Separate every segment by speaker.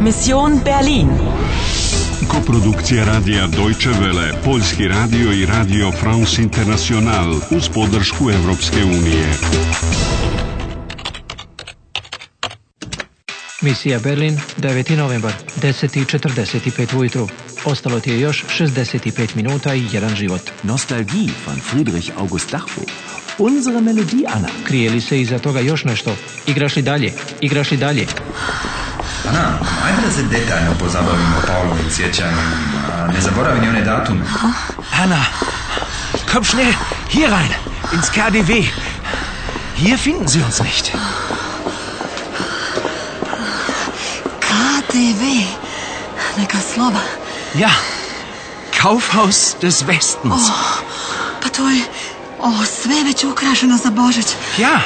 Speaker 1: Mission Berlin.
Speaker 2: Koprodukcija radija Deutsche Welle, Poljski radio i radio France International uz podršku Europske unije.
Speaker 3: Misija Berlin, 9. novembar, 10.45 ujutru. Ostalo ti je još 65 minuta i jedan život.
Speaker 4: Nostalgie von Friedrich August Dachau. Unsere Melodie, Anna.
Speaker 3: Krije li se iza toga još nešto? Igraš li dalje? Igraš li dalje?
Speaker 5: Ana, ajmo da se detaljno pozabavimo Paulovim sjećanjem, a ne zaboravi ni one datume.
Speaker 6: Hanna, komm schnell hier rein, ins KDW. Hier finden Sie uns nicht.
Speaker 7: KTV. Neka slova.
Speaker 6: Ja, Kaufhaus des Westens.
Speaker 7: Pa to je... O, sve je već ukrašeno za Božić.
Speaker 6: Ja,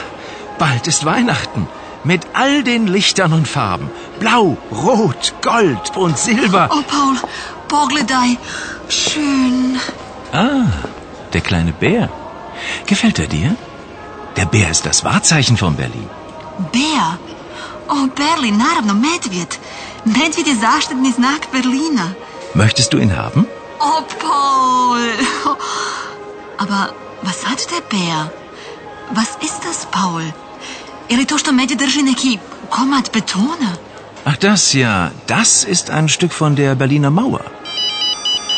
Speaker 6: bald ist Weihnachten. Mit all den Lichtern und Farben. Blau, Rot, Gold und Silber.
Speaker 7: O, Paul, pogledaj. Schön.
Speaker 4: Ah, der kleine Bär. Gefällt er dir? Der Bär ist das Wahrzeichen von Berlin.
Speaker 7: Bea. O, Berlin, naravno, medvjed. Medvjed je zaštitni znak Berlina.
Speaker 4: Möchtest du ihn haben?
Speaker 7: O, Paul. Aber was hat der Bär? Was ist das, Paul? Je li to što medvjed drži neki komad betona?
Speaker 4: Ach, das ja. Das ist ein Stück von der Berliner Mauer.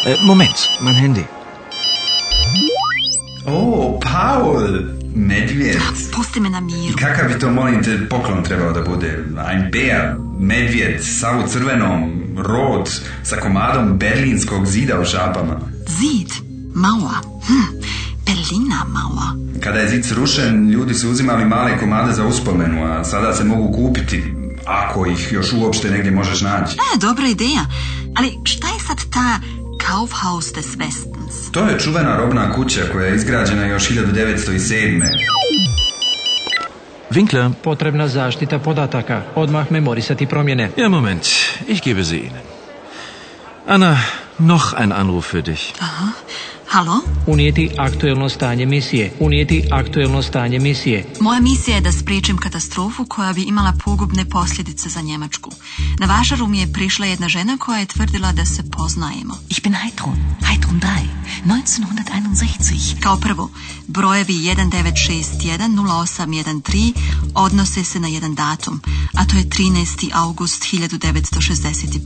Speaker 4: Äh, Moment, mein Handy.
Speaker 5: O, Paul, medvjed.
Speaker 7: Pusti me na miru.
Speaker 5: Kakav bi to, molim te, poklon trebao da bude? Ein Bär, medvjed, sav u crvenom, rod, sa komadom berlinskog zida u šapama.
Speaker 7: Zid. Mauer. Hm. Berliner Mauer.
Speaker 5: Kada je zid srušen, ljudi su uzimali male komade za uspomenu, a sada se mogu kupiti, ako ih još uopšte negdje možeš naći.
Speaker 7: E, dobra ideja. Ali šta je sad ta Kaufhaus des Westens?
Speaker 5: To je čuvena robna kuća koja je izgrađena još 1907.
Speaker 4: Winkler.
Speaker 3: Potrebna zaštita podataka. Odmah memorisati promjene.
Speaker 4: Ja, Moment. Ich gebe sie Ihnen. Anna, noch ein Anruf für dich.
Speaker 7: Halo?
Speaker 3: Unijeti aktuelno stanje misije. Unijeti aktuelno stanje misije.
Speaker 7: Moja misija je da spriječim katastrofu koja bi imala pogubne posljedice za Njemačku. Na vašaru mi je prišla jedna žena koja je tvrdila da se poznajemo.
Speaker 8: Ich bin Heidrun, Heidrun 3, 1961.
Speaker 7: Kao prvo, brojevi 1961-0813 odnose se na jedan datum, a to je 13. august 1961.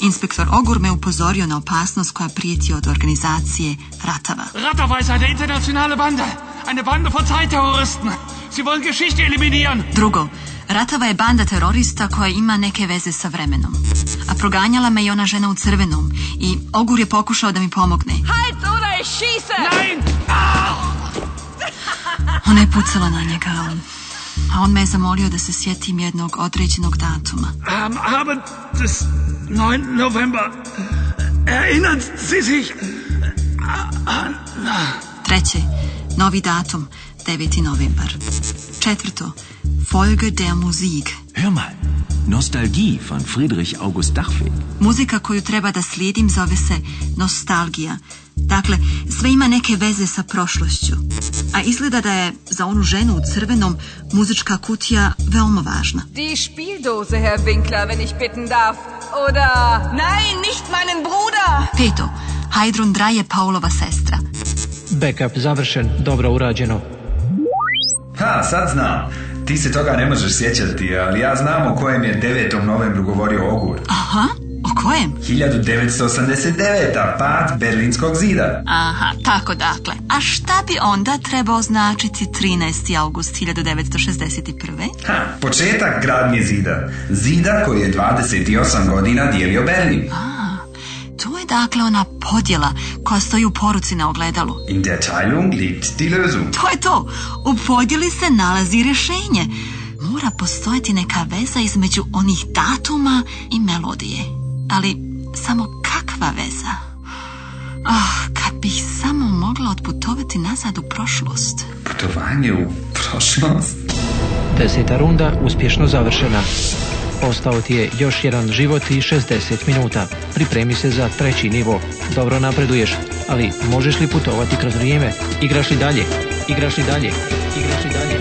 Speaker 7: Inspektor Ogur me upozorio na opasnost koja prijeti od organizacije ratava.
Speaker 9: Ratterweis eine internationale Bande. Eine Bande von Zeitterroristen. Sie wollen Geschichte eliminieren.
Speaker 7: Drugo, Ratava je banda terorista koja ima neke veze sa vremenom. A proganjala me i ona žena u crvenom i Ogur je pokušao da mi pomogne.
Speaker 10: Halt oder ich schieße!
Speaker 9: Nein!
Speaker 7: Ona je pucala na njega, a on- a on me je zamolio da se sjetim jednog određenog datuma.
Speaker 9: Am Abend des 9. November äh, erinnern Sie sich an...
Speaker 7: Treće, novi datum, 9. novembar. Četvrto, Folge der Musik.
Speaker 4: Hör mal. Nostalgie von Friedrich August Dachfeld.
Speaker 7: Muzika koju treba da slijedim zove se nostalgija. Dakle, sve ima neke veze sa prošlošću. A izgleda da je za onu ženu u crvenom muzička kutija veoma važna.
Speaker 10: Die Spieldose, Herr Winkler, wenn ich bitten darf. Oder... Nein, nicht meinen Bruder!
Speaker 7: Peto, Heidrun Draj je Paulova sestra.
Speaker 3: Backup završen. Dobro urađeno.
Speaker 5: Ha, sad znam. Ti se toga ne možeš sjećati, ali ja znam o kojem je 9. novembru govorio Ogur.
Speaker 7: Aha, o kojem?
Speaker 5: 1989. pad Berlinskog zida.
Speaker 7: Aha, tako dakle. A šta bi onda trebao značiti 13. august 1961.
Speaker 5: Ha, početak gradnje zida. Zida koji je 28 godina dijelio Berlin.
Speaker 7: To je dakle ona podjela koja stoji u poruci na ogledalu.
Speaker 5: In der Teilung liegt die Lösung.
Speaker 7: To je to. U podjeli se nalazi rješenje. Mora postojati neka veza između onih datuma i melodije. Ali samo kakva veza? Ah, kad bih samo mogla otputovati nazad u prošlost.
Speaker 5: Putovanje u prošlost.
Speaker 3: Deseta runda uspješno završena. Ostao ti je još jedan život i 60 minuta. Pripremi se za treći nivo. Dobro napreduješ, ali možeš li putovati kroz vrijeme? Igraš li dalje? Igraš li dalje? Igraš li dalje?